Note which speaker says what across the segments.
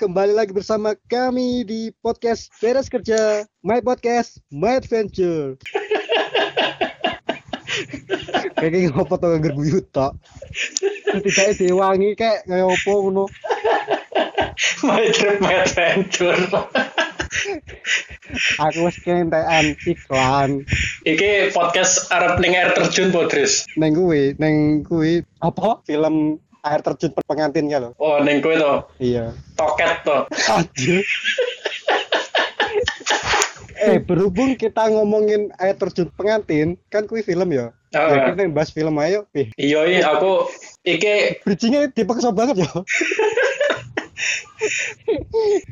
Speaker 1: kembali lagi bersama kami di podcast Beres Kerja, My Podcast, My Adventure. Kayaknya ngopo tuh nganggur buyut tok. Setidaknya diwangi kayak ngopo ngono.
Speaker 2: My trip, my adventure.
Speaker 1: Aku wis kentekan iklan
Speaker 2: Iki podcast Arab ning air terjun Podris.
Speaker 1: neng kuwi, neng kuwi apa? Film air terjun pengantin ya lo.
Speaker 2: Oh, ning kowe to,
Speaker 1: Iya.
Speaker 2: toket to.
Speaker 1: Anjir. eh berhubung kita ngomongin air terjun pengantin kan kui film ya
Speaker 2: Ah.
Speaker 1: ya kita bahas film ayo eh
Speaker 2: Iya, iya, aku iki
Speaker 1: bridgingnya dipaksa banget ya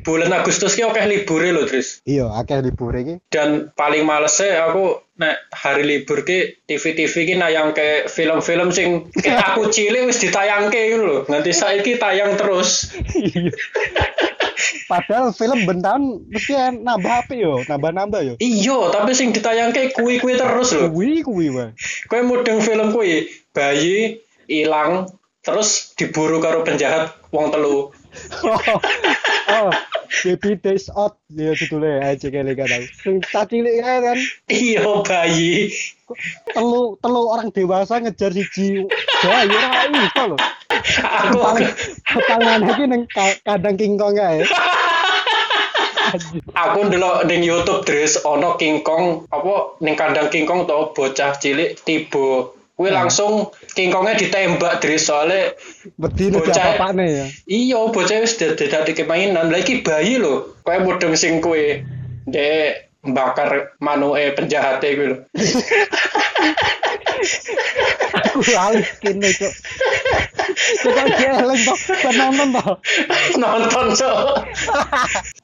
Speaker 2: bulan Agustus ki akeh libure lho, Tris.
Speaker 1: iya akeh libur ini
Speaker 2: Dan paling malese aku nek hari libur ki TV-TV ki nayangke film-film sing ki aku cilik wis ditayangke gitu lho. Nanti saiki tayang terus.
Speaker 1: Iya. padahal film bentan mesti kan nambah ya, apa yo nambah nambah yo
Speaker 2: Iya, tapi sing ditayangke kuwi-kuwi terus lho.
Speaker 1: kui kui wae
Speaker 2: Kowe mudeng film kuwi, bayi ilang terus diburu karo penjahat wong telu.
Speaker 1: oh, oh. Baby Days Out ya judulnya aja kali gak tahu sing tadi kan
Speaker 2: Iya bayi.
Speaker 1: telu telu orang dewasa ngejar siji bayi ora iso lho
Speaker 2: Aku
Speaker 1: paling tangan iki ning ka- kandang kingkong kae.
Speaker 2: aku ndelok ning YouTube Dres ono King Kong apa ning kandang King Kong to bocah cilik tiba. Kuwi langsung King Kongnya ditembak Dres soalnya
Speaker 1: Bedine
Speaker 2: Bocah.
Speaker 1: dia papane ya.
Speaker 2: iya bocah wis dadi kemainan. Lah iki bayi lho. Kowe mudeng sing kuwe. Dek bakar manuke penjahate e, kuwi lho.
Speaker 1: Aku alis kene cuk. Cuk kok geleng to, ben nonton to.
Speaker 2: Nonton so.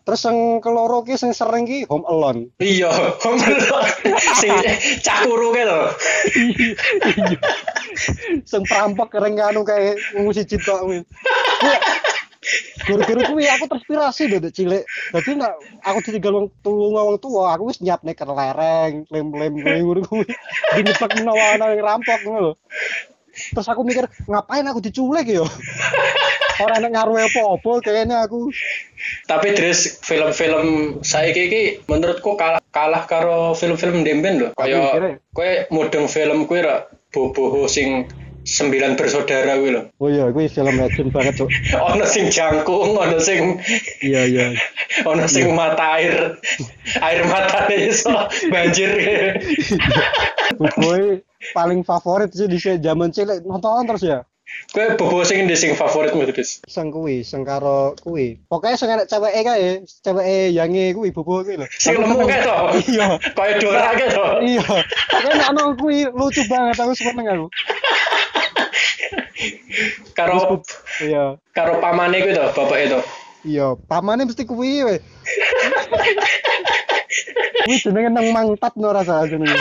Speaker 1: Terus yang keloro ki sing sering ki Home Alone.
Speaker 2: Iya, ngomelok. Sing cakuru kae lho.
Speaker 1: Sing perampok kering kanu kae wong siji tok kuwi. Kuwi- Guru-guru kuwi aku terinspirasi deh dek cilik. Dadi nek aku ditinggal wong tua wong tua, aku wis nyiapne kelereng, lem-lem ngono kuwi. Dinepek menawa ana yang rampok ngono lho. Terus aku mikir, ngapain aku diculik ya? Ora enak ngaruh apa-apa kayaknya aku.
Speaker 2: Tapi Dres film-film saiki iki menurutku kalah kalah karo film-film demben lho.
Speaker 1: Tapi kira-
Speaker 2: Kaya kowe mudeng film kuwi ra boboho sing sembilan bersaudara kuwi lho.
Speaker 1: Oh iya, kuwi film legend banget, Cuk.
Speaker 2: Ono sing jangkung, ono sing
Speaker 1: Iya, iya.
Speaker 2: ono sing mata air. Air matane iso banjir.
Speaker 1: Gue paling favorit sih di zaman cilik nonton terus ya.
Speaker 2: kowe boboho sing ndi sing favoritmu Dres?
Speaker 1: Sing kuwi, sing karo kuwi. Pokoknya sing enak ceweke kae, ceweke yange kuwi bobo kuwi lho.
Speaker 2: Sing
Speaker 1: Aku
Speaker 2: lemu
Speaker 1: seneng.
Speaker 2: kae to.
Speaker 1: Iya.
Speaker 2: Kaya Dora kae to.
Speaker 1: Iya. Pokoknya nek ono kuwi lucu banget aku seneng aku. Terus
Speaker 2: Karo
Speaker 1: bu- Iya.
Speaker 2: karo pamane kuwi to, bapake to.
Speaker 1: Iya, pamane mesti kuwi we. Kuwi jenenge nang mangtat no rasa jenenge.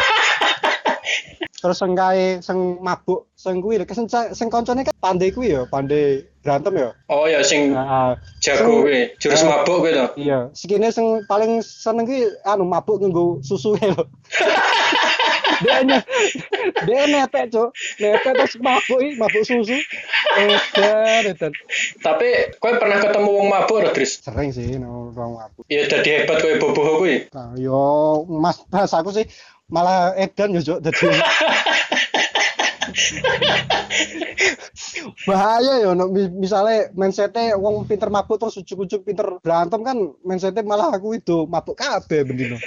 Speaker 1: Terus sing kae sing mabuk, sing kuwi lho, sing sing koncone kan pandai kuwi ya, pandai berantem ya.
Speaker 2: Oh ya sing
Speaker 1: Heeh.
Speaker 2: jago kuwi, jurus
Speaker 1: Ah.
Speaker 2: mabuk kuwi to.
Speaker 1: Iya, skine sing paling seneng kuwi anu mabuk nganggo susu e lho. dia ne, dia netek cuk, netek terus mabuk i, mabuk susu. Edan, edan.
Speaker 2: Tapi kowe pernah ketemu wong mabuk ora, Dris?
Speaker 1: Sering sih nang ruang mabuk.
Speaker 2: Ya dadi hebat kowe boboho kuwi.
Speaker 1: Nah, yo mas mas aku sih malah edan yo cuk dadi. Bahaya yo no, mi- misalnya mindsetnya wong pinter mabuk terus ujuk-ujuk pinter berantem kan mindsetnya malah aku itu mabuk kabeh bendino.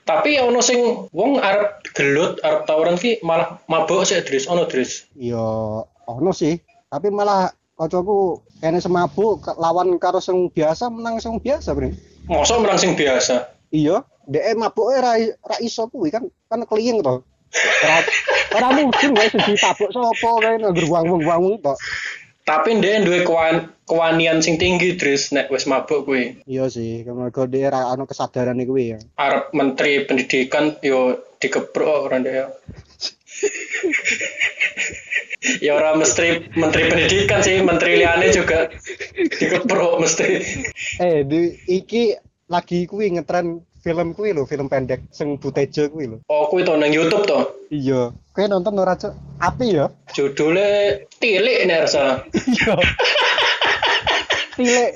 Speaker 2: Tapi ya ono sing wong arep gelut, arep tawuran ki malah mabuk sik, Dris. Ono, Dris.
Speaker 1: Yo, Iya, ono sih, tapi malah kancaku kene semabuk ka- lawan karo sing biasa menang sing biasa, Bro.
Speaker 2: Mosok merang sing biasa.
Speaker 1: Iya, dhek mabuke ra ra iso kuwi kan kan kliyeng to. Ora ora mungkin wae sing ditabuk sapa kae nganggur wong-wong tok.
Speaker 2: Tapi ndek duwe kewan kewanian sing tinggi, Dris, nek wis mabuk kuwi.
Speaker 1: Iya sih, mergo dhek ra ono kesadarane kuwi ya.
Speaker 2: Arep menteri pendidikan yo dikeprok ora ndek ya. ya ora mesti menteri pendidikan sih, menteri liane juga dikeprok mesti.
Speaker 1: Eh, di, iki lagi kuwi ngetren film kuwi lho, film pendek sing Butejo kuwi lho.
Speaker 2: Oh, kuwi to nang YouTube to.
Speaker 1: Iya, kowe nonton ora, Cuk? Api ya.
Speaker 2: judulnya tilik nih rasa
Speaker 1: Iya. Tilik.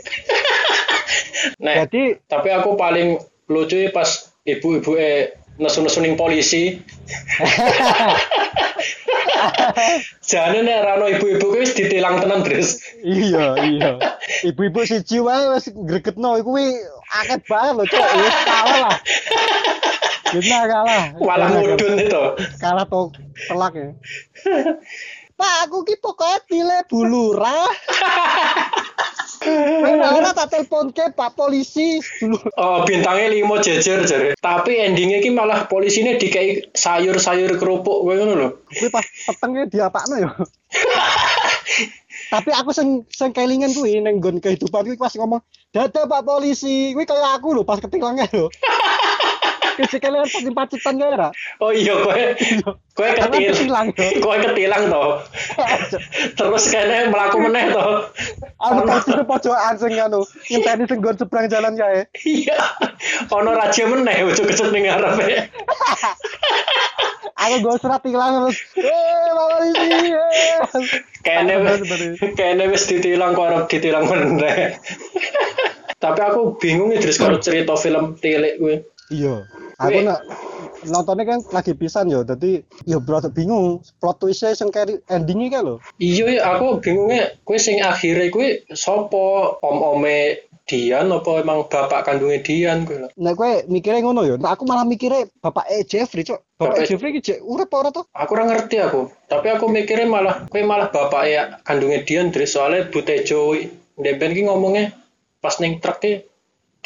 Speaker 2: Nek,
Speaker 1: Jadi
Speaker 2: tapi aku paling lucu ya pas ibu-ibu eh nesu-nesuning polisi. Jane nek rano ibu-ibu kuwi wis ditilang tenan, Dres.
Speaker 1: iya iya. Ibu-ibu siji wae wis gregetno iku kuwi akeh banget lho, Cok. Wis kalah lah. Benar kalah.
Speaker 2: Malah
Speaker 1: Benar,
Speaker 2: mudun e itu.
Speaker 1: Kalah to telak ya. Pak, aku ki pokoknya pilih bulurah. Ora tak telepon ke Pak polisi dulu.
Speaker 2: Oh, bintangnya limo jejer jare. Tapi endingnya ki malah polisinya dikei sayur-sayur kerupuk kowe ngono lho.
Speaker 1: Kuwi pas petengnya diapakno yo. Tapi aku sing sing kelingan kuwi ning nggon kehidupan kuwi pas ngomong, "Dadah Pak polisi." Kuwi kaya aku lho pas ketilangnya lho. Kuwi kelingan pas dipacitan kaya ora.
Speaker 2: Oh iya kowe kowe
Speaker 1: Karena
Speaker 2: ketilang.
Speaker 1: ketilang, toh.
Speaker 2: Kowe ketilang to. Terus kene mlaku meneh to.
Speaker 1: Aku pasti pojokan sing anu, ngenteni sing nggon seberang jalan kae.
Speaker 2: Iya. Ono raja meneh ojo keset ning ngarepe.
Speaker 1: Aku gue surat tilang terus, "Eh, Pak polisi." eh."
Speaker 2: Kene
Speaker 1: Bener, bener.
Speaker 2: kene wis ditilang kok arep ditilang meneh. Tapi aku bingung ya Dris kalau cerita film tilik kowe.
Speaker 1: Iya. Aku
Speaker 2: Kuwi-
Speaker 1: nak nontonnya kan lagi pisan yo, jadi yo bro bingung plot twistnya sing keri endingnya kan lho.
Speaker 2: Iya ya aku bingungnya kuwi sing akhirnya kuwi sopo om-ome Dian apa emang bapak kandungnya Dian kuwi lho.
Speaker 1: Nah, kowe mikirnya ngono ya. Nah, aku malah mikirnya bapak E Jeffrey, Cok. Bapak
Speaker 2: Bapak-
Speaker 1: E Jeffrey ki jek urip apa ora to?
Speaker 2: Aku ora ngerti aku, tapi aku mikirnya malah kuwi malah bapak ya kandungnya Dian dari soalnya Butejo Demben ki ngomongnya pas ning truk ki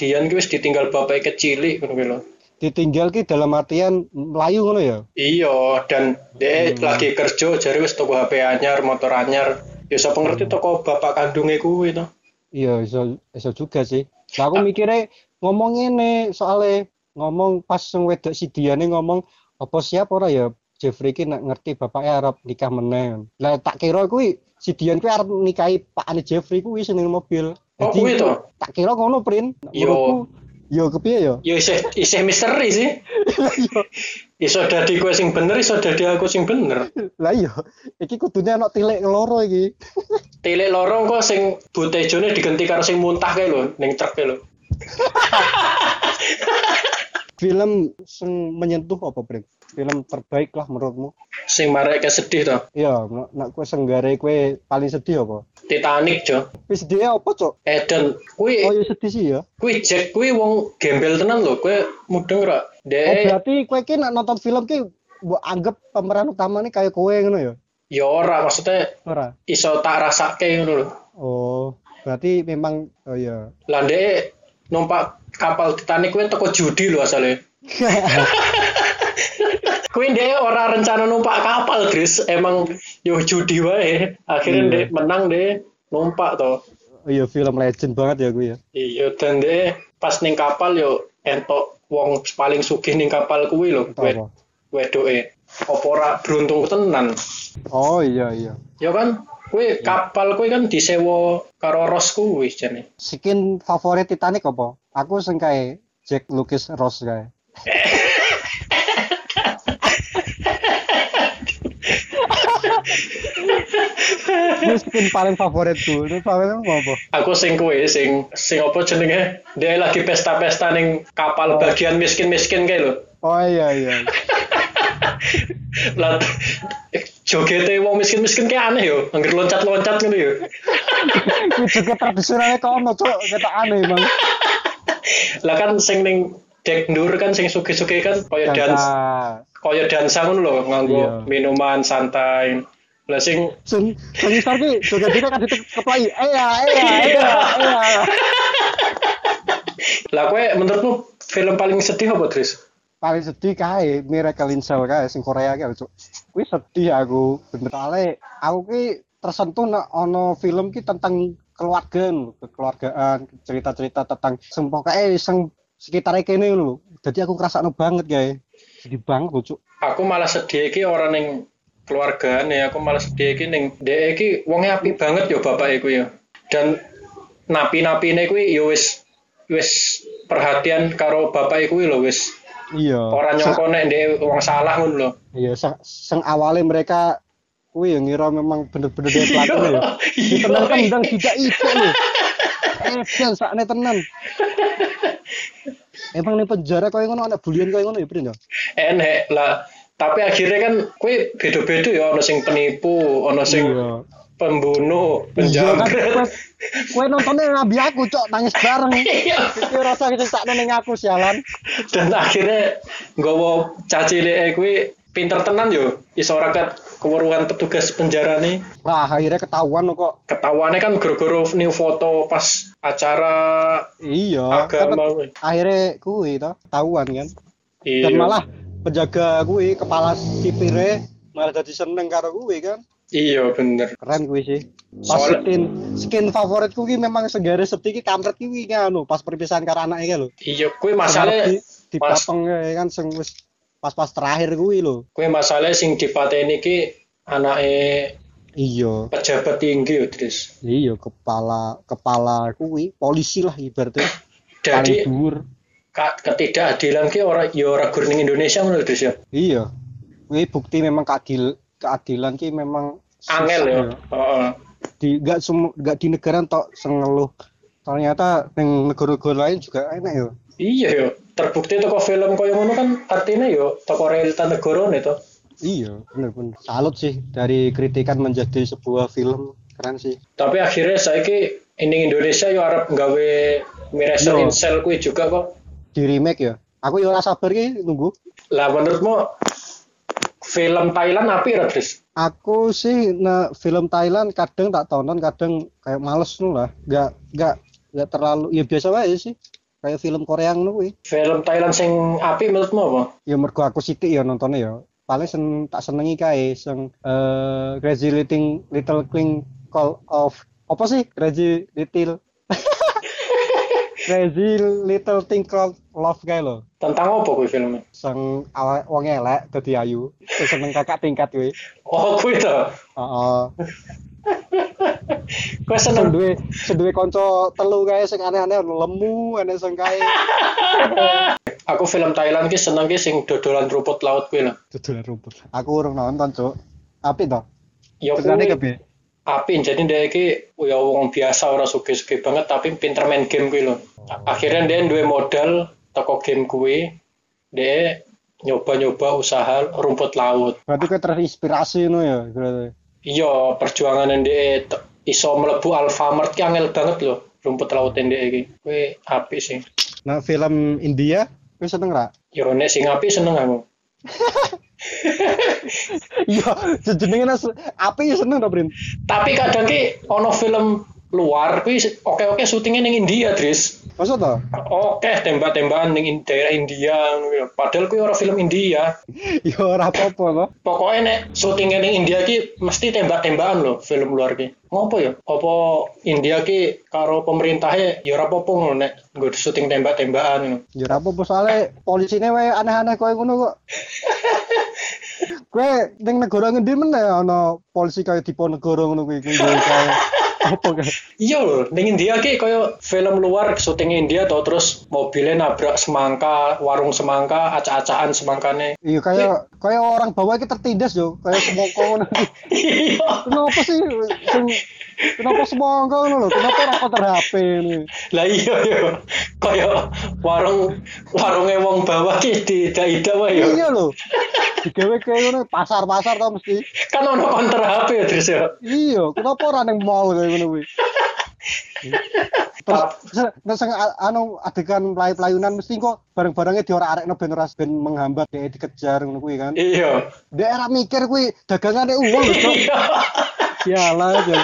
Speaker 2: Dian ki wis ditinggal bapak kecil ngono kuwi lho.
Speaker 1: Ditinggal ki dalam artian melayu ngono ya.
Speaker 2: Iya, dan dia
Speaker 1: Hmm.
Speaker 2: lagi kerja jadi wis toko HP anyar, motor anyar. Ya sapa ngerti toko bapak kandungnya kuwi to.
Speaker 1: Iya, iso iso juga sih. Nah, aku mikirnya ngomong ngene soalnya ngomong pas sing wedok si Diane ngomong apa siap ora ya Jeffrey ki nak ngerti bapaknya arep nikah meneh. Lah tak kira kuwi si Dian kuwi arep nikahi pakane Jeffrey kuwi seneng mobil.
Speaker 2: Oh,
Speaker 1: Jadi,
Speaker 2: kuwi to?
Speaker 1: tak kira ngono, Prin.
Speaker 2: Yo.
Speaker 1: Menurutku, yo kepiye yo?
Speaker 2: Ya isih isih misteri sih.
Speaker 1: Yo.
Speaker 2: Iso dadi kowe sing bener, iso dadi aku sing bener.
Speaker 1: Lah iya, iki kudunya anak tilik loro iki.
Speaker 2: Tilik lorong kok sing butejone digenti karo sing muntah kae lho, ning truk kae lho.
Speaker 1: Film sing menyentuh apa, Bring? Film terbaik lah menurutmu?
Speaker 2: Sing marek kayak sedih to.
Speaker 1: Iya, nak- nak kowe senggare kowe paling sedih apa?
Speaker 2: Titanic jo.
Speaker 1: Tapi sedihnya apa, Cok?
Speaker 2: Eden, kuwi
Speaker 1: Oh, ya sedih sih ya.
Speaker 2: kuwi Jack kuwi wong gembel tenan lho, kowe mudeng
Speaker 1: Oh,
Speaker 2: ora? Dek,
Speaker 1: berarti kowe ki nak nonton film ki mbok anggap pemeran utamane kayak kowe ngono ya?
Speaker 2: ya ora maksudnya
Speaker 1: Ora.
Speaker 2: iso tak rasake ngono lho.
Speaker 1: Oh, berarti memang oh ya.
Speaker 2: Lah ndek numpak kapal Titanic kuwi teko judi lho asale. Kuwi ndek ora rencana numpak kapal, Gris. Emang yo judi wae.
Speaker 1: Iya.
Speaker 2: Akhirnya ndek menang ndek numpak to.
Speaker 1: oh iya film legend banget ya gue ya.
Speaker 2: Iya, dan ndek pas ning kapal yo entok wong paling sugih ning kapal kuwi lho,
Speaker 1: Entok apa?
Speaker 2: wed- wedoke. Apa ora beruntung tenan?
Speaker 1: Oh iya iya.
Speaker 2: Ya kan, kuwi kapal kuwi kan disewa karo Ros kuwi jane.
Speaker 1: Skin favorit Titanic apa? Aku sing kae Jack Lucas Ross kae. Ini skin paling favoritku. Ini favoritmu apa?
Speaker 2: Aku sing kuwi sing sing apa jenenge? Dia lagi pesta-pesta ning kapal
Speaker 1: Oh.
Speaker 2: bagian miskin-miskin kae lho.
Speaker 1: Oh iya iya.
Speaker 2: Lah jogete wong miskin-miskin kayak aneh yo, anggere loncat-loncat ngono yo.
Speaker 1: Ini juga tradisionalnya kono, cok. Kita aneh, Bang.
Speaker 2: Lah kan sing ning dek ndur kan sing sugih-sugih kan kaya dansa,
Speaker 1: Dansa.
Speaker 2: kaya dansa ngono lho, nganggo
Speaker 1: Iya.
Speaker 2: minuman santai. Lah sing
Speaker 1: Sen, sen isar ki joget dina kan ditek keplai. Eya, eya, eya, eya.
Speaker 2: lah kowe menurutmu film paling sedih apa, Tris?
Speaker 1: Paling sedih kae Miracle in Cell kae sing Korea kae, cok. Kuwi sedih aku. Bener ale aku ki tersentuh nek ana film ki tentang keluargaan, kekeluargaan, cerita-cerita tentang sing pokoke sing sekitar kene lho. Jadi aku ngrasakno banget kae. Sedih banget lho, cok.
Speaker 2: Aku malah sedih iki ora ning keluargane, aku malah sedih iki ning dhek iki wonge apik banget yo bapake kuwi yo. Dan napi-napine kuwi yo wis wis perhatian karo bapake kuwi lho wis
Speaker 1: Iya.
Speaker 2: ora nyangka nek ndek wong salah ngono lho.
Speaker 1: Iya, sing, sing awalnya mereka kuwi yang ngira memang bener-bener dia pelakunya ya.
Speaker 2: Iya.
Speaker 1: Ditendang-tendang tidak itu loh. Edan sakne tenan. Emang ning penjara koyo ngono anak bulian koyo ngono ya, Brin ya?
Speaker 2: enek Eh, lah tapi akhirnya kan kue beda-beda ya ono sing penipu ono sing pembunuh
Speaker 1: Iya kan kowe,
Speaker 2: penjamret
Speaker 1: kowe nontonnya ngambi aku cok nangis bareng.
Speaker 2: Iya.
Speaker 1: Iki rasa disakno ning aku sialan.
Speaker 2: dan akhirnya nggawa caci deh kue pinter tenan yo iso ora ket keweruhan petugas penjara nih
Speaker 1: Wah, akhirnya ketahuan loh kok.
Speaker 2: ketahuannya kan gara-gara new foto pas acara
Speaker 1: Iya, kan
Speaker 2: Agama, weh.
Speaker 1: akhirnya kuwi toh ketahuan kan. Dan
Speaker 2: Iya.
Speaker 1: malah penjaga kuwi kepala sipire malah jadi seneng karo kuwi kan.
Speaker 2: iya bener
Speaker 1: Keren kuwi sih. Pas
Speaker 2: Soalnya-
Speaker 1: skin skin favoritku kuwi memang segaris sedikit kampret kuwi ngono pas perpisahan karo anake lho.
Speaker 2: iya kue
Speaker 1: di
Speaker 2: masalahnya pas-
Speaker 1: dipotong ya kan sing wis pas-pas terakhir kuwi lho.
Speaker 2: kue masalahnya sing dipateni ki anake
Speaker 1: Iya,
Speaker 2: pejabat tinggi yo Tris
Speaker 1: iya kepala kepala kuwi polisi lah ibaratnya paling
Speaker 2: jadi
Speaker 1: dhuwur.
Speaker 2: ka- ketidakadilan ki ora ya ora gur ning Indonesia ngono lho, Tris ya.
Speaker 1: Iya. Kuwi bukti memang keadil keadilan ki memang susah
Speaker 2: Angel ya. Heeh.
Speaker 1: di gak semu, gak di negara tok sengeluh ternyata yang negara-negara lain juga enak ya
Speaker 2: Iya yo, terbukti toko film koyo ngono kan artinya yo toko realita negarane to.
Speaker 1: iya bener bener salut sih dari kritikan menjadi sebuah film keren sih
Speaker 2: Tapi akhirnya saiki ini Indonesia yo arep gawe Mirror
Speaker 1: Yo.
Speaker 2: Insel kuwi juga kok.
Speaker 1: di remake ya aku ya ora sabar ki nunggu
Speaker 2: Lah menurutmu film Thailand api ra, Tris?
Speaker 1: aku sih nah, film Thailand kadang tak tonton kadang kayak males nu lah gak gak gak terlalu ya biasa aja sih kayak film Korea nu kuwi.
Speaker 2: Film Thailand sing api menurutmu apa?
Speaker 1: ya mergo aku sithik ya nontonnya ya paling sen, tak senengi kae sing eh Crazy Little Little King Call of apa sih Crazy Little Crazy Little Thing Called Love kae lho
Speaker 2: Tentang apa kuwi filmnya?
Speaker 1: sing awak wong elek dadi ayu terus seneng kakak tingkat kuwi
Speaker 2: Oh, kuwi to.
Speaker 1: heeh
Speaker 2: Kuwi
Speaker 1: sing
Speaker 2: seneng
Speaker 1: duwe sing duwe kanca telu kae sing aneh-aneh ono lemu aneh sing kae
Speaker 2: Aku film Thailand ki seneng ki sing dodolan rumput laut kuwi lho.
Speaker 1: dudulan rumput aku urung nonton cuk apik to
Speaker 2: Ya
Speaker 1: Ceritane
Speaker 2: kuwi
Speaker 1: kepiye?
Speaker 2: Apin, jadi dia iki ya wong biasa ora sugih-sugih banget tapi pinter main game kuwi lho. A- Akhirnya dia duwe modal teko game kuwi. Dia nyoba-nyoba usaha rumput laut.
Speaker 1: berarti kowe terinspirasi ngono ya berarti
Speaker 2: Iya, perjuangan dia te- iso mlebu Alfamart ki angel banget lho rumput laut dia iki. Kuwi apik sih.
Speaker 1: Nah, film India, lu seneng ra?
Speaker 2: Yo nek sing apik seneng aku.
Speaker 1: Iya, jenenge nas api ya seneng to, Brin.
Speaker 2: Tapi kadang ki ono film luar kuwi se- oke-oke syutingnya ning India, Dris.
Speaker 1: Masa to?
Speaker 2: Oke, tembak-tembakan ning in- daerah India ngono kuwi lho. Padahal kuwi ora film India.
Speaker 1: Ya ora apa-apa to.
Speaker 2: pokoknya nek syuting ning India ki mesti tembak-tembakan loh film luar ki ngopo ya apa India ki karo pemerintahnya ya ora apa-apa ngono nek nggo syuting tembak-tembakan ngono.
Speaker 1: Ya ora apa-apa soalé polisine wae aneh-aneh koyo ngono kok. Kowe ning negara ngendi meneh ana polisi kaya Diponegoro ngono kuwi kuwi kuwi kaya apa kae?
Speaker 2: iya loh ning India ki kaya film luar syuting India to terus mobilnya nabrak semangka warung semangka acak-acakan semangkane
Speaker 1: Iya kaya kaya orang bawah iki tertindas yo, kaya semongko ngono.
Speaker 2: iya
Speaker 1: Kenapa sih sing kenapa semongko ngono lho? Kenapa ora kotor HP ini?
Speaker 2: lah iya yo kaya warung warunge wong bawah ki diidak-idak wae yo
Speaker 1: Iya lho. Digawe kaya ngono pasar-pasar to mesti.
Speaker 2: kan ono konter HP ya Tris ya
Speaker 1: Iya, kenapa ora ning mall kaya ngono kuwi? Terus se- terus yang a- anu adegan melayu-melayunan mesti kok bareng-barengnya diorak-arakno ben ora ben menghambat dia dikejar ngono kuwi kan.
Speaker 2: iya
Speaker 1: Dia era mikir kuwi dagangane uang lho, Cok. Sialan aja.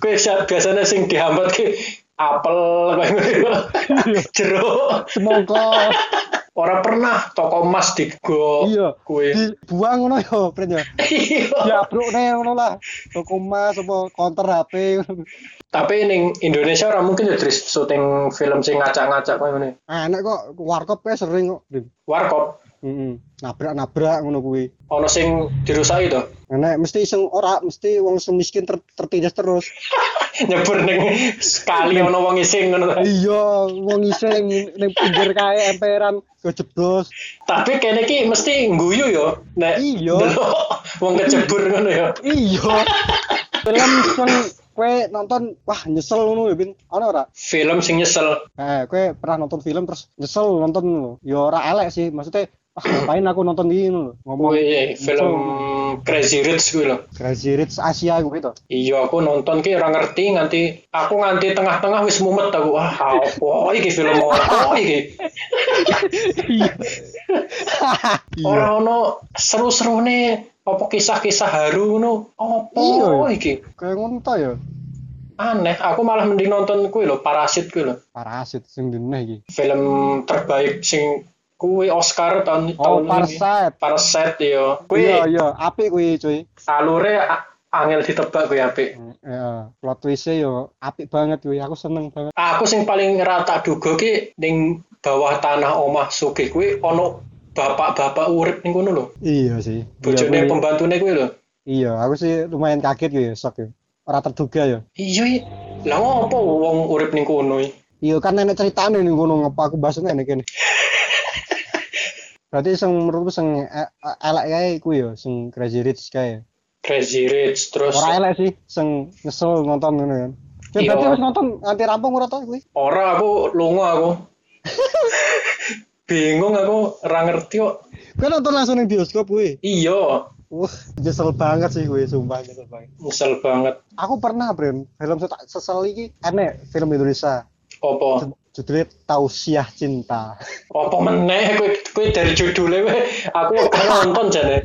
Speaker 2: Kue sa- biasanya sing dihambat ke apel kayak gitu. jeruk
Speaker 1: Semongko.
Speaker 2: orang pernah toko emas digo
Speaker 1: Iya.
Speaker 2: kue
Speaker 1: Dibuang ngono yo, Pren yo.
Speaker 2: iya
Speaker 1: Diabrukne ngono lah. Toko emas apa counter HP ngono.
Speaker 2: tapi ning Indonesia orang mungkin ya Dris syuting film sing ngacak-ngacak kayak gini
Speaker 1: Ah, Enak kok warkop kayak sering kok. Pren.
Speaker 2: warkop
Speaker 1: Heeh. Nabrak-nabrak ngono kuwi.
Speaker 2: ono sing dirusak itu
Speaker 1: Enak Nah, mesti sing ora mesti wong sing miskin ter, tertindas terus.
Speaker 2: nyebur neng sekali ono wong ising ngono.
Speaker 1: Iya, wong iseng ning pinggir kae emperan gojeblos.
Speaker 2: tapi kene ki mesti ngguyu yo nek
Speaker 1: Iya.
Speaker 2: ndelok wong kecebur ngono yo
Speaker 1: Iya. Film sing kue nonton wah nyesel ngono ya bin ono ora
Speaker 2: Film sing nyesel.
Speaker 1: eh kue pernah nonton film terus nyesel nonton ngono. ya ora elek sih maksudnya ah ngapain aku nonton ini ngono lho. ngomong
Speaker 2: Wih, film Crazy Rich gue loh.
Speaker 1: Crazy Rich Asia gitu
Speaker 2: Iya, aku nonton ki ora ngerti nganti aku nganti tengah-tengah wis mumet aku. Ah, apa iki film apa iki?
Speaker 1: iya
Speaker 2: Ora ono seru-serune apa kisah-kisah haru ngono.
Speaker 1: Iya,
Speaker 2: Apa
Speaker 1: ya.
Speaker 2: iki?
Speaker 1: kayak ngono ta ya
Speaker 2: Aneh, aku malah mending nonton kuwi lho Parasit kuwi lho.
Speaker 1: parasit sing dene iki
Speaker 2: Film terbaik sing kuwi Oscar tahun
Speaker 1: oh
Speaker 2: tahun
Speaker 1: parasit
Speaker 2: Parasit yo.
Speaker 1: iya
Speaker 2: Kuwi
Speaker 1: iya apik kuwi cuy
Speaker 2: alure a- angel ditebak kuwi apik.
Speaker 1: ya plot twistnya yo apik banget kuwi aku seneng banget
Speaker 2: Aku sing paling rata duga ki ning bawah tanah omah sugih kuwi ono bapak-bapak urip ning kono lho.
Speaker 1: iya sih
Speaker 2: Bojone
Speaker 1: Iya, kuwi-
Speaker 2: pembantune kuwi lho.
Speaker 1: iya aku sih lumayan kaget kuwi sok ya ora terduga ya
Speaker 2: Iya, iya. lah ngopo wong urip ning kono iki?
Speaker 1: Iya kan nenek ceritane ning kono ngapa aku bahas nenek kene. Berarti sing menurutku sing e- e- elek kae iku ya sing Crazy Rich kae.
Speaker 2: Crazy Rich terus
Speaker 1: Ora elek sih sing nyesel nonton ngono kan. Ya
Speaker 2: Iya.
Speaker 1: berarti wis nonton nanti rampung ora to kuwi.
Speaker 2: ora aku lunga aku. Bingung aku ora ngerti kok.
Speaker 1: Kowe Kan nonton langsung ning bioskop kuwi.
Speaker 2: Iya,
Speaker 1: Wah, nyesel banget sih kuwi sumpah nyesel banget.
Speaker 2: nyesel banget.
Speaker 1: Aku pernah, Bren, film saya tak sesel iki enek film Indonesia.
Speaker 2: Opo?
Speaker 1: Judulnya Tausiah Cinta.
Speaker 2: Opo meneh kuwi kuwi dari judulnya kuwi aku gak nonton jane.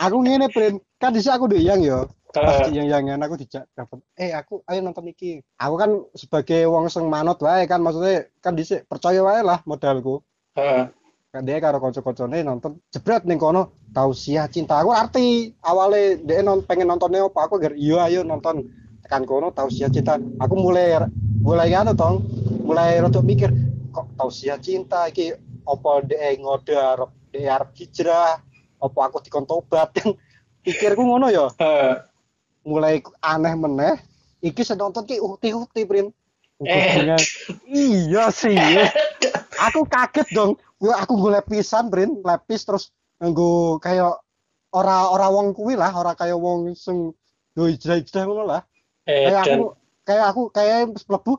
Speaker 1: aku ngene Bren, kan dhisik aku ndek yang ya.
Speaker 2: Heeh.
Speaker 1: Pas yang yangan aku dijak dapat eh aku ayo nonton iki. Aku kan sebagai wong sing manut wae kan maksudnya kan dhisik percaya wae lah modalku.
Speaker 2: Heeh.
Speaker 1: Kan dia karo kanca-kancane nonton jebret ning kono tausiah cinta aku arti awale dia non pengen nontonnya apa aku ger iya ayo nonton tekan kono tausiah cinta aku mulai mulai anu tong mulai rodok mikir kok tausiah cinta iki apa dia ngode arep dia arep hijrah apa aku dikon tobat pikirku ngono ya
Speaker 2: Heeh.
Speaker 1: mulai aneh meneh iki sing nonton ki uhti-uhti prin
Speaker 2: Eh.
Speaker 1: Hubungan- iya sih aku kaget dong Wah, aku gue lepisan prin lepis terus nggo kayak ora ora wong kuwi lah ora kayak wong sing do hijrah-hijrah ngono lah
Speaker 2: Eh,
Speaker 1: kayak
Speaker 2: dan
Speaker 1: aku kayak aku kayak mlebu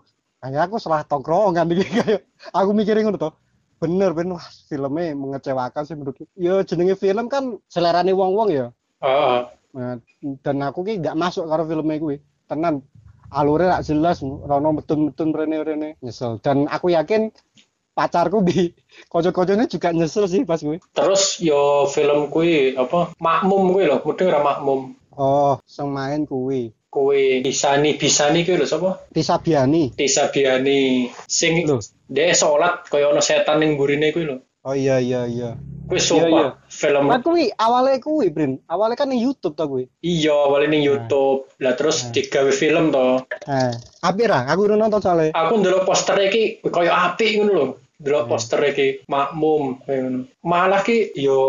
Speaker 1: kayak aku salah tongkrongan iki kayak aku mikirin ngono to bener bener wah filmnya mengecewakan sih menurutku yo jenenge film kan selerane wong-wong ya
Speaker 2: heeh.
Speaker 1: Nah, dan aku ki gak masuk karo filmnya kuwi tenan alurnya gak jelas rono metun-metun rene-rene nyesel dan aku yakin pacarku di kocok-kocoknya juga nyesel sih pas gue
Speaker 2: Terus yo film kuwi apa makmum kuwi lho, mudeng ora makmum.
Speaker 1: oh sing main kuwi
Speaker 2: Kuwi Bisani Bisani kuwi lho sapa?
Speaker 1: Tisa Biani
Speaker 2: Tisa Biani sing
Speaker 1: Lho.
Speaker 2: dhek salat kaya ono setan ning burine kuwi lho.
Speaker 1: oh iya iya iya
Speaker 2: Kuwi sumpah
Speaker 1: Iya, iya.
Speaker 2: film
Speaker 1: Nah, kuwi awalnya kuwi, Brin. Awalnya kan di YouTube tau kuwi.
Speaker 2: iya awalnya ning YouTube.
Speaker 1: Hmm.
Speaker 2: Lah terus digawe film to.
Speaker 1: Eh, apik ra? Aku udah nonton soalnya.
Speaker 2: Aku ndelok poster iki kaya apik ngono lho.
Speaker 1: Hmm.
Speaker 2: Ndelok poster iki makmum kaya ngono. Malah ki yo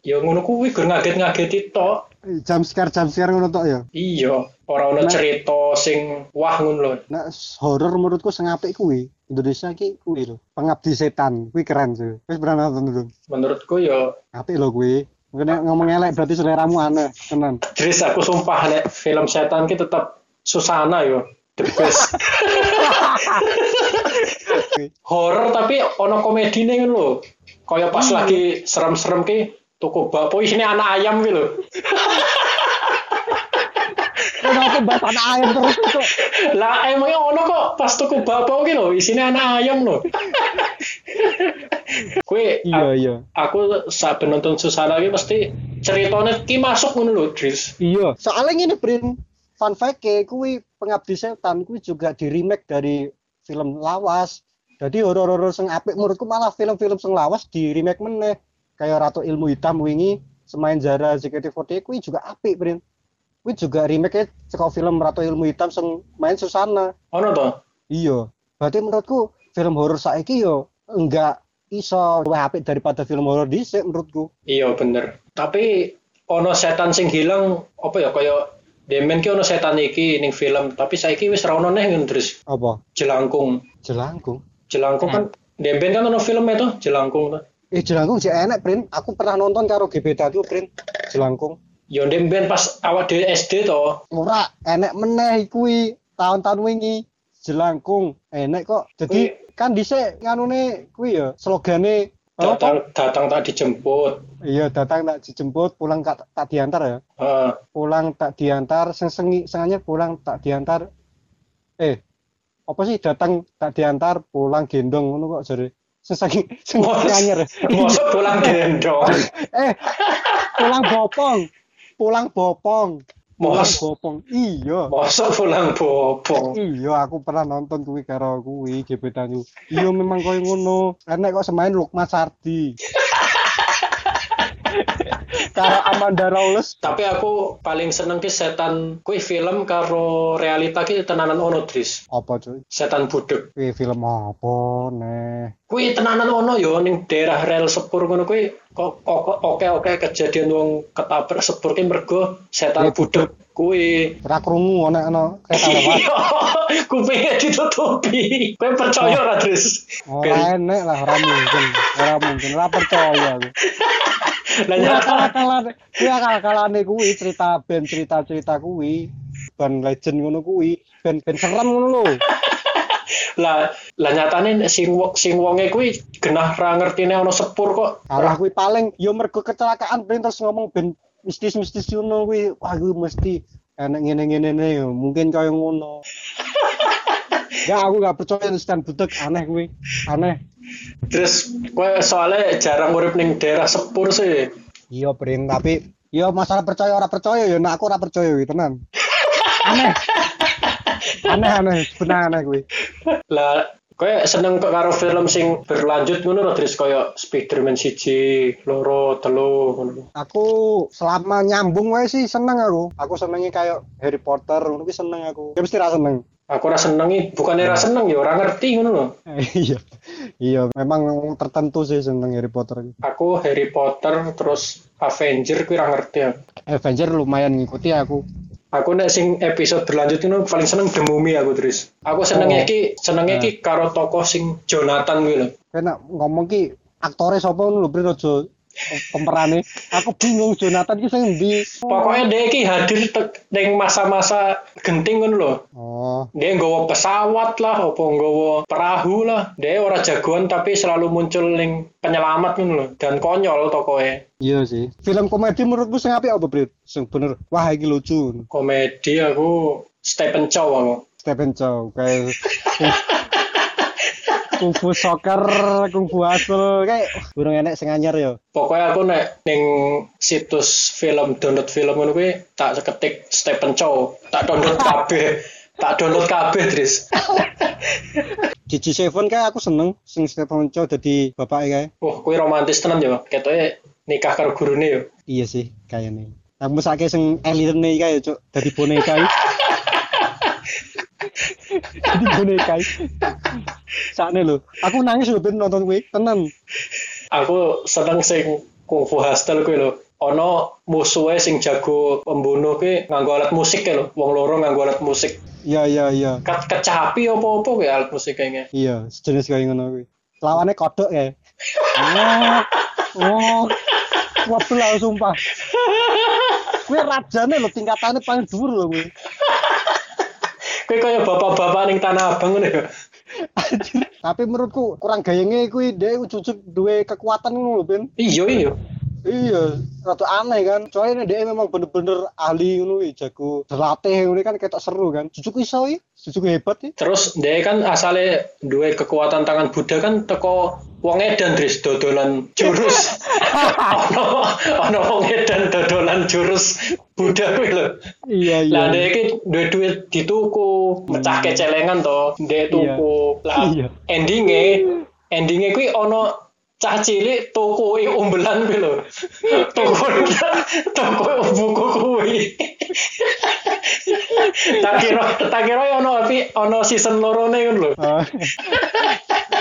Speaker 2: yo ngono kuwi gur ngaget-ngageti tok.
Speaker 1: Jam scare jam scare ngono tok ya.
Speaker 2: Iya, ora ono cerita sing wah ngono lho.
Speaker 1: Nah, horor menurutku sing apik kuwi. Indonesia ki kuwi lho. Pengabdi setan. Kuwi keren sih. Wis pernah nonton belum?
Speaker 2: Menurutku yo
Speaker 1: Apik lho kuwi. Mungkin nek ngomong elek berarti seleramu aneh, tenan.
Speaker 2: Dris aku sumpah nek film setan ki tetap Susana yo the best horror tapi ono komedine ngono lho kaya pas
Speaker 1: Hmm.
Speaker 2: lagi serem-serem ki toko bakpo ini anak ayam ki lho
Speaker 1: Kenapa bahas anak air terus kok?
Speaker 2: lah emangnya ono kok pas toko bakpo ki lho isine anak ayam lho kue
Speaker 1: Iya, iya.
Speaker 2: aku saat penonton Susana ki mesti ceritanya ki masuk ngono lho Dris
Speaker 1: Iya. Soalnya ngene, Brin. Fun fact kuwi Pengabdi Setan kuwi juga di remake dari film lawas. Jadi horor-horor sing apik menurutku malah film-film sing lawas di remake meneh. Kayak Ratu Ilmu Hitam wingi, Semain Jara JKT48 kuwi juga apik, Brin. Kuwi juga remake saka film Ratu Ilmu Hitam sing main Susana.
Speaker 2: ono to
Speaker 1: Iya, berarti menurutku film horor saiki yo enggak iso luwih apik daripada film horor dhisik menurutku.
Speaker 2: Iya bener. Tapi ono setan sing hilang apa ya kaya Demen ki ono setan iki ning film, tapi saiki wis ra ono neh ngono terus
Speaker 1: Apa?
Speaker 2: Jelangkung.
Speaker 1: Jelangkung.
Speaker 2: Jelangkung kan Demen kan ono film itu Jelangkung tuh.
Speaker 1: Eh Jelangkung sih enak, Prin. Aku pernah nonton karo GBT aku, Prin. Jelangkung.
Speaker 2: Yo ndek mbiyen pas awak dhewe SD to.
Speaker 1: Ora enek meneh kuwi tahun-tahun wingi jelangkung enek kok. Jadi kan dhisik nganune kuwi ya slogane apa?
Speaker 2: Datang datang tak dijemput.
Speaker 1: Iya datang tak dijemput, pulang tak, tak diantar ya.
Speaker 2: Heeh.
Speaker 1: Pulang tak diantar, sing sengi sengannya pulang tak diantar. Eh, apa sih datang tak diantar, pulang gendong ngono kok jare. Sing sengi sing
Speaker 2: Mos-
Speaker 1: anyar.
Speaker 2: Mosok pulang gendong.
Speaker 1: Eh, pulang bopong. Pulang bopong. Pulang
Speaker 2: Mos-
Speaker 1: bopong. Iya.
Speaker 2: Mosok pulang bobo.
Speaker 1: Iya, aku pernah nonton kuwi karo kuwi GB Tanyu. Iya memang koyo ngono. Enek kok semain Lukman Sardi. karo Amanda Rawles.
Speaker 2: Tapi aku paling seneng ki setan kuwi film karo realita ki tenanan ono Dris.
Speaker 1: Apa cuy?
Speaker 2: Setan budek.
Speaker 1: Kuwi film apa neh?
Speaker 2: Kuwi tenanan ono yo ning daerah rel sepur ngono kuwi kok oke-oke kejadian wong ketabrak sepur ki mergo setan
Speaker 1: Ya,
Speaker 2: budek kuwi.
Speaker 1: Ora krungu ana ana kereta lewat.
Speaker 2: Kupingnya ditutupi. Kowe percaya ora Dris?
Speaker 1: Ora enek lah, ora mungkin. Ora mungkin, ora percaya aku.
Speaker 2: Lah
Speaker 1: Kuwi
Speaker 2: nyata
Speaker 1: akal-akalane, kuwi akal-akalane kuwi cerita ben cerita-cerita kuwi ben legend ngono kuwi, ben ben serem ngono lho.
Speaker 2: lah lah nyatane sing wo- sing wonge kuwi genah ra ngertine ono sepur kok.
Speaker 1: Alah kuwi paling ya mergo kecelakaan ben terus ngomong ben mistis-mistis ngono kuwi wah kuwi mesti enak ngene-ngene ne ya, mungkin kaya ngono. Ya aku gak percaya instan butek aneh kuwi. Aneh.
Speaker 2: Terus kowe soalnya jarang urip ning daerah sepur sih.
Speaker 1: Iya Brin, tapi ya masalah percaya ora percaya ya nek aku ora percaya kuwi tenan. Aneh. Aneh aneh benar aneh kuwi.
Speaker 2: Lah kowe seneng kok karo film sing berlanjut ngono lho Dris koyo Spiderman siji, loro, telu ngono.
Speaker 1: Aku selama nyambung wae sih seneng aku. Aku senengnya kayak Harry Potter ngono kuwi seneng aku. Ya mesti ra seneng.
Speaker 2: Aku ora seneng iki, bukan ora seneng ya ora ngerti ngono lho.
Speaker 1: Eh, iya iya memang tertentu sih tentang Harry Potter
Speaker 2: Aku Harry Potter terus Avenger kuwi ora ngerti aku.
Speaker 1: Avenger lumayan ngikuti aku
Speaker 2: Aku nek sing episode berlanjut ngono paling seneng The Mummy aku Dris. Aku
Speaker 1: Oh.
Speaker 2: senenge iki senenge iki karo tokoh sing Jonathan kuwi lho.
Speaker 1: karena ngomong ki aktornya sapa ngono lho Brin aja pemerane aku bingung Jonathan ki sing ndi
Speaker 2: Pokoknya dia iki hadir tek- ning masa-masa genting ngono lho.
Speaker 1: oh
Speaker 2: dia nggawa pesawat lah apa nggawa perahu lah dia ora jagoan tapi selalu muncul ning penyelamat ngono lho dan konyol tokoe
Speaker 1: iya sih film komedi menurutmu sing apik apa Brit sing bener wah iki lucu
Speaker 2: komedi aku Stephen Chow aku
Speaker 1: Stephen Chow kayak Kung Fu Soccer, Kung Fu Hustle, kayak burung enek sing anyar ya.
Speaker 2: pokoknya aku nek ning situs film download film ngono kuwi tak ketik Stephen Chow tak download kabeh tak download kabeh Dris
Speaker 1: GG7 kayak aku seneng sing Stephen Chow jadi bapaknya kayak.
Speaker 2: wah kuwi romantis tenan ya ketoke nikah karo gurune ya
Speaker 1: Iya sih, kayaknya. Aku sakit sing alien nih kayak cok dari boneka. iki. Jadi boneka. Saat lho, aku nangis lho ben nonton kuwi, tenan.
Speaker 2: aku seneng sing Kung Fu Hustle kuwi lho. Ono musuhe sing jago pembunuh kuwi nganggo alat musik kuwi lho. Wong loro nganggo alat musik.
Speaker 1: Iya iya iya.
Speaker 2: Ke kecapi apa-apa kuwi alat musik kayaknya.
Speaker 1: Iya, sejenis kayak ngono kuwi. Lawannya kodok ya. Oh. Oh. Waduh lah sumpah. Kuwi rajane lho tingkatannya paling dhuwur lho kuwi.
Speaker 2: Kuwi kaya bapak-bapak ning Tanah Abang ngono ya.
Speaker 1: Anjir. Tapi menurutku kurang gayenge kuwi dia ujug-ujug duwe kekuatan ngono lho ben.
Speaker 2: Iya iya.
Speaker 1: Iya, rada aneh kan. Soalnya dia memang bener-bener ahli ngono iki, jago berlatih ngono kan ketok seru kan. Jujuk iso iki, jujuk hebat iki.
Speaker 2: Terus dia kan asale duwe kekuatan tangan Buddha kan teko wong edan Dris dodolan jurus. ono ono wong edan dodolan jurus Buddha kuwi lho.
Speaker 1: Iya,
Speaker 2: Lah dia iki duit duit dituku, mecah kecelengan to, dia tuku. Lah
Speaker 1: Iya.
Speaker 2: endinge, endinge kuwi ono cah cilik tuku e umbelan kuwi lho. Tuku tuku buku kuwi. tak kira tak kira ya ono tapi ono season loro ne ngono lho.
Speaker 1: Ah.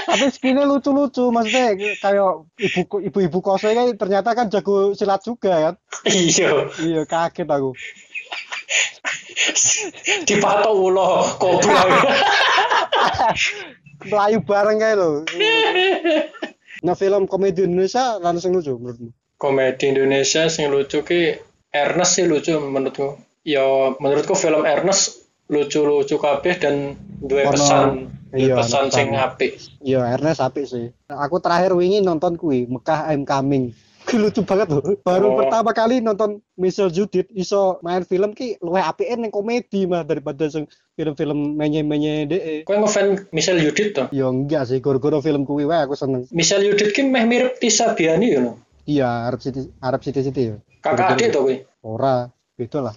Speaker 1: Tapi skinnya lucu-lucu maksudnya kayak ibu ibu-ibu kosnya kan ternyata kan jago silat juga kan.
Speaker 2: Iya,
Speaker 1: Iya, kaget aku.
Speaker 2: dipatok ulo kobra.
Speaker 1: Melayu bareng kayak lho. Nah, film komedi Indonesia langsung lucu menurutmu.
Speaker 2: Komedi Indonesia sing lucu ki Ernest sih lucu menurutku. Ya menurutku film Ernest lucu-lucu kabeh dan dua
Speaker 1: Ono-
Speaker 2: pesan,
Speaker 1: iya,
Speaker 2: dua pesan
Speaker 1: pesan.
Speaker 2: sing apik.
Speaker 1: Iya, Ernest apik sih. Aku terakhir wingi nonton kui Mekah I'm Coming. Ki lucu banget loh. Baru
Speaker 2: Oh.
Speaker 1: pertama kali nonton Michelle Judith iso main film ki luwih apik ning komedi mah daripada sing film-film menye-menye dhek.
Speaker 2: Kowe ngefan Michelle Yudit to?
Speaker 1: Ya enggak sih, gara-gara film kuwi wae aku seneng.
Speaker 2: Michelle Yudit ki meh mirip Tisa Biani ya lho.
Speaker 1: Iya, Arab City Arab City City ya.
Speaker 2: Kakak adik to kowe.
Speaker 1: Ora, beda lah.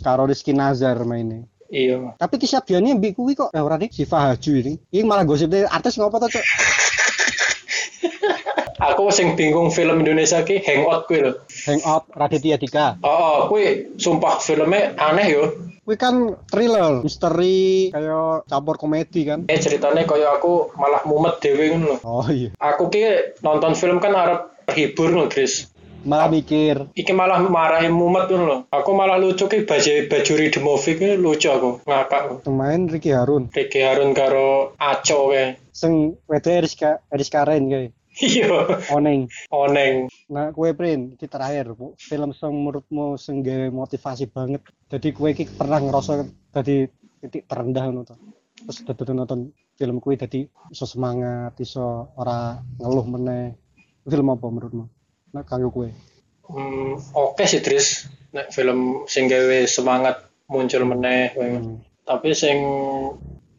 Speaker 1: Karo Rizky Nazar mainnya.
Speaker 2: Iya.
Speaker 1: Tapi Tisha Biani mbik kuwi kok eh, ora nih Siva Haju ini. Ini malah gosipnya artis ngopo to, Cuk?
Speaker 2: Aku sing bingung film Indonesia ki Hangout kuwi lho.
Speaker 1: Hangout Raditya Dika.
Speaker 2: Oh, oh kuwi sumpah filmnya aneh yo.
Speaker 1: Kuwi kan thriller, misteri, kayak campur komedi kan.
Speaker 2: Eh ceritanya kaya aku malah mumet dhewe ngono lho.
Speaker 1: Oh iya,
Speaker 2: Aku ki nonton film kan arep hibur lho, Dris.
Speaker 1: malah mikir.
Speaker 2: Iki malah marahin mumet ngono lho. Aku malah lucu ki baju bajuri The Movie ki lucu aku, ngakak. aku.
Speaker 1: Pemain Ricky Harun,
Speaker 2: Ricky Harun karo Aco kayak.
Speaker 1: sing wedhe Rizka Rizka Ren kayak
Speaker 2: Iya,
Speaker 1: Oneng.
Speaker 2: oneng.
Speaker 1: Nah, kue print iki terakhir Bu. film sing menurutmu sing gawe motivasi banget. Jadi kue iki pernah ngerasa jadi titik terendah ngono to. Terus dadi nonton film kue jadi iso semangat, iso ora ngeluh meneh. Film apa menurutmu? Nah, kanggo kue.
Speaker 2: Hmm, oke sih Tris. Nek film sing gawe semangat muncul meneh. kowe.
Speaker 1: Hmm.
Speaker 2: Tapi sing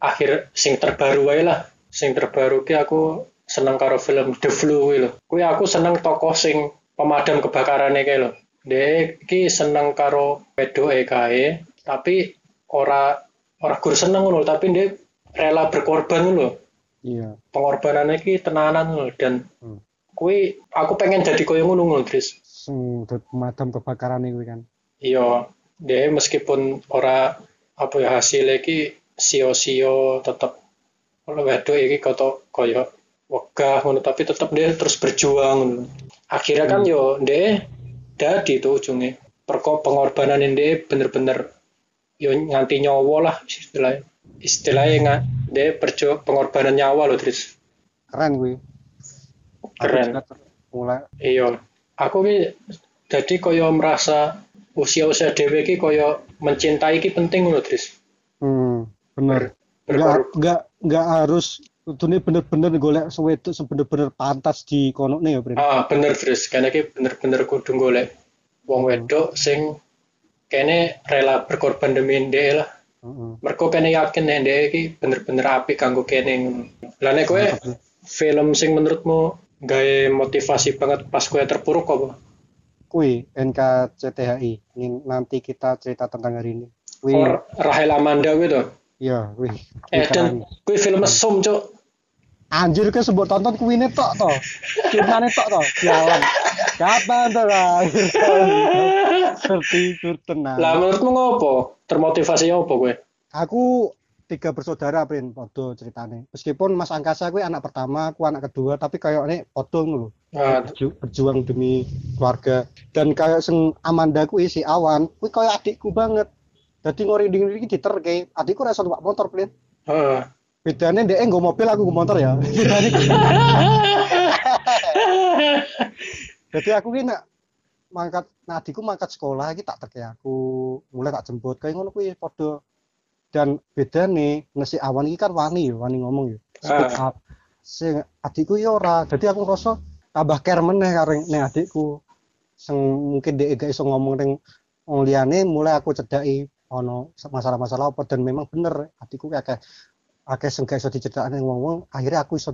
Speaker 2: akhir sing terbaru wae lah. Sing terbaru ki aku seneng karo film The Flu kuwi lho. Kuwi aku seneng tokoh sing pemadam kebakarane kae lho. Dek ki seneng karo wedoke kae, tapi ora ora gur seneng ngono, tapi dia rela berkorban ngono lho.
Speaker 1: Iya.
Speaker 2: Pengorbanannya ki tenanan ngono dan
Speaker 1: Hmm.
Speaker 2: kuwi aku pengen jadi koyo ngono ngono, Tris.
Speaker 1: Sing dadi pemadam kebakaran iki kan.
Speaker 2: Iya, dia meskipun ora apa ya hasilnya ki sio-sio tetap wedok iki koto koyo wegah ngono tapi tetap dia terus berjuang ngono. Akhirnya kan yo dia dadi itu ujungnya perko pengorbanan dia bener-bener yo nganti nyawa lah istilahnya istilahnya nggak dia perju pengorbanan nyawa loh Tris
Speaker 1: Keren kuwi. Aku
Speaker 2: keren
Speaker 1: juga ter- Mulai
Speaker 2: Eh, Iya, aku ki jadi koyo merasa usia-usia dhewe ki koyo mencintai ki penting ngono, Tris.
Speaker 1: Hmm, bener. Nggak,
Speaker 2: Berkorban.
Speaker 1: nggak, nggak harus kudune bener-bener golek sewetuk sing bener-bener pantas di konokne ya, Brin.
Speaker 2: Ah, bener Tris, kene ki bener-bener kudu golek wong wedok sing kene rela berkorban demi ndek lah.
Speaker 1: Heeh.
Speaker 2: Mergo kene yakin nek ndek ki bener-bener apik kanggo kene ngono. Lah nek kowe film sing menurutmu gawe motivasi banget pas kowe terpuruk apa?
Speaker 1: Kui NKCTHI. Ini nanti kita cerita tentang hari ini. Kui,
Speaker 2: Or Eh, Rahel Amanda kuwi to.
Speaker 1: iya, kui. Kui
Speaker 2: Eden,
Speaker 1: keren.
Speaker 2: kuwi film mesum, Cuk.
Speaker 1: Anjir ke sebut tonton kui ini tok toh. Cintane tok toh. Jalan. Kapan terakhir kali kau tertidur tenang?
Speaker 2: Lah menurutmu ngopo? Termotivasi apa kowe?
Speaker 1: Aku tiga bersaudara Prin podo ceritane. Meskipun Mas Angkasa kuwi anak pertama, aku anak kedua, tapi kayaknya podo ngono lho.
Speaker 2: Nah,
Speaker 1: Berju- berjuang demi keluarga dan kayak sing Amanda kuwi si Awan, kuwi kayak adikku banget. Jadi ngori-ngori iki diterke. Adikku ora iso numpak motor, Prin.
Speaker 2: heeh.
Speaker 1: Bedane ndek nggo mobil aku nggo motor ya. Bedane kuwi. Jadi aku ki nak mangkat nah adikku mangkat sekolah iki tak terke aku, mulai tak jemput kayak ngono kuwi padha. Dan bedane nasi awan iki kan wani ya, wani ngomong ya. Speak
Speaker 2: Ah.
Speaker 1: up. Sing adikku ya ora. Jadi aku ngerasa tambah care meneh karo ning adikku. Sing mungkin dia gak iso ngomong ning wong liyane mulai aku cedaki ono masalah-masalah apa dan memang bener adikku ki akeh akeh sing gak iso dicedakne wong-wong akhirnya aku iso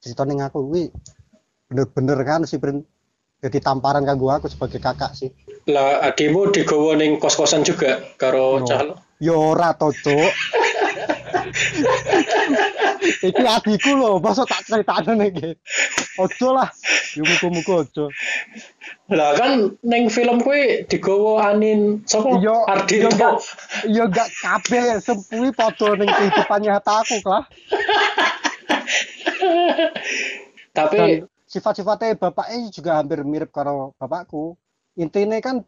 Speaker 1: cerita ning aku kuwi bener-bener kan si Brin jadi tamparan kanggo aku sebagai kakak sih
Speaker 2: Lah adikmu digawa ning kos-kosan juga
Speaker 1: No.
Speaker 2: karo cah
Speaker 1: ya ora to cuk iki adikku lho masa tak critakne iki ojo lah yo muku-muku ojo
Speaker 2: Lah kan ning film kuwi digawa Anin sapa?
Speaker 1: Iya, iya,
Speaker 2: Ardito.
Speaker 1: Kak. ya gak kabeh sepui padha ning kehidupan nyata aku lah
Speaker 2: Tapi
Speaker 1: dan sifat-sifatnya bapaknya juga hampir mirip karo bapakku intinya kan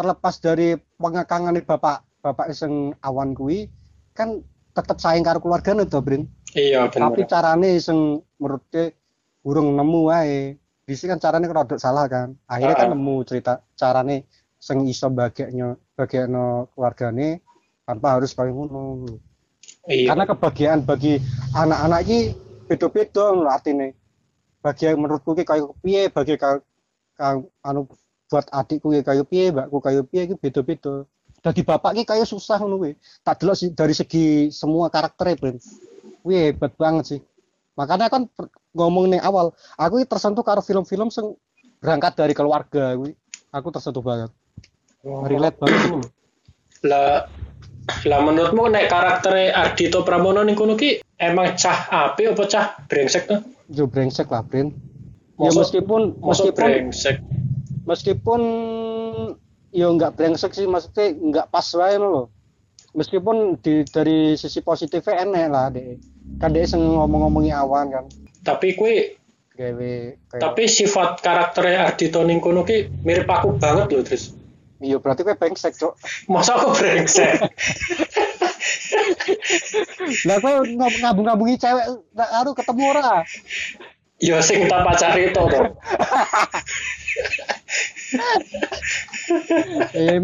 Speaker 1: terlepas dari pengekangan bapak bapak sing awan kui kan tetap sayang karo keluarga itu Brin
Speaker 2: iya
Speaker 1: tapi
Speaker 2: bener.
Speaker 1: carane sing menurutnya burung nemu wae Disi kan carane rodok salah kan akhirnya kan
Speaker 2: Ah.
Speaker 1: nemu cerita carane sing iso bagiannya bagianno keluargane tanpa harus kaya ngono.
Speaker 2: Iya.
Speaker 1: Karena kebahagiaan bagi anak-anak iki beda-beda ngono atine. Bagian menurutku ki kaya piye, bagi ka, ka- anu buat adikku ya kaya piye, mbakku kaya piye iki beda-beda. Dadi bapak ki kaya susah ngono kuwi. Tak delok sih dari segi semua karakternya, Ben. Kuwi hebat banget sih. Makanya kan per- ngomong nih awal, aku iki tersentuh karo film-film sing berangkat dari keluarga kuwi. Aku tersentuh banget. Relate banget ngono.
Speaker 2: Lah lah menurutmu nek karaktere Adito Pramono ning kono ki emang cah apik apa cah brengsek tuh?
Speaker 1: Yo brengsek lah, Brin. Ya
Speaker 2: Mosok-
Speaker 1: meskipun
Speaker 2: Masa
Speaker 1: meskipun
Speaker 2: brengsek.
Speaker 1: meskipun ya nggak brengsek sih maksudnya nggak pas wae loh meskipun di, dari sisi positifnya enak lah deh kan dia seng ngomong-ngomongi awan kan
Speaker 2: Tapi kui
Speaker 1: Iya. gawe kayak-
Speaker 2: tapi sifat karaktere Ardito ning kono ki mirip aku banget loh terus.
Speaker 1: iya berarti gue brengsek cok
Speaker 2: Masa aku brengsek?
Speaker 1: lah gue ngab- ngabung-ngabungi cewek nggak aru ketemu ora
Speaker 2: ya sing tak pacari itu tuh.
Speaker 1: Eh,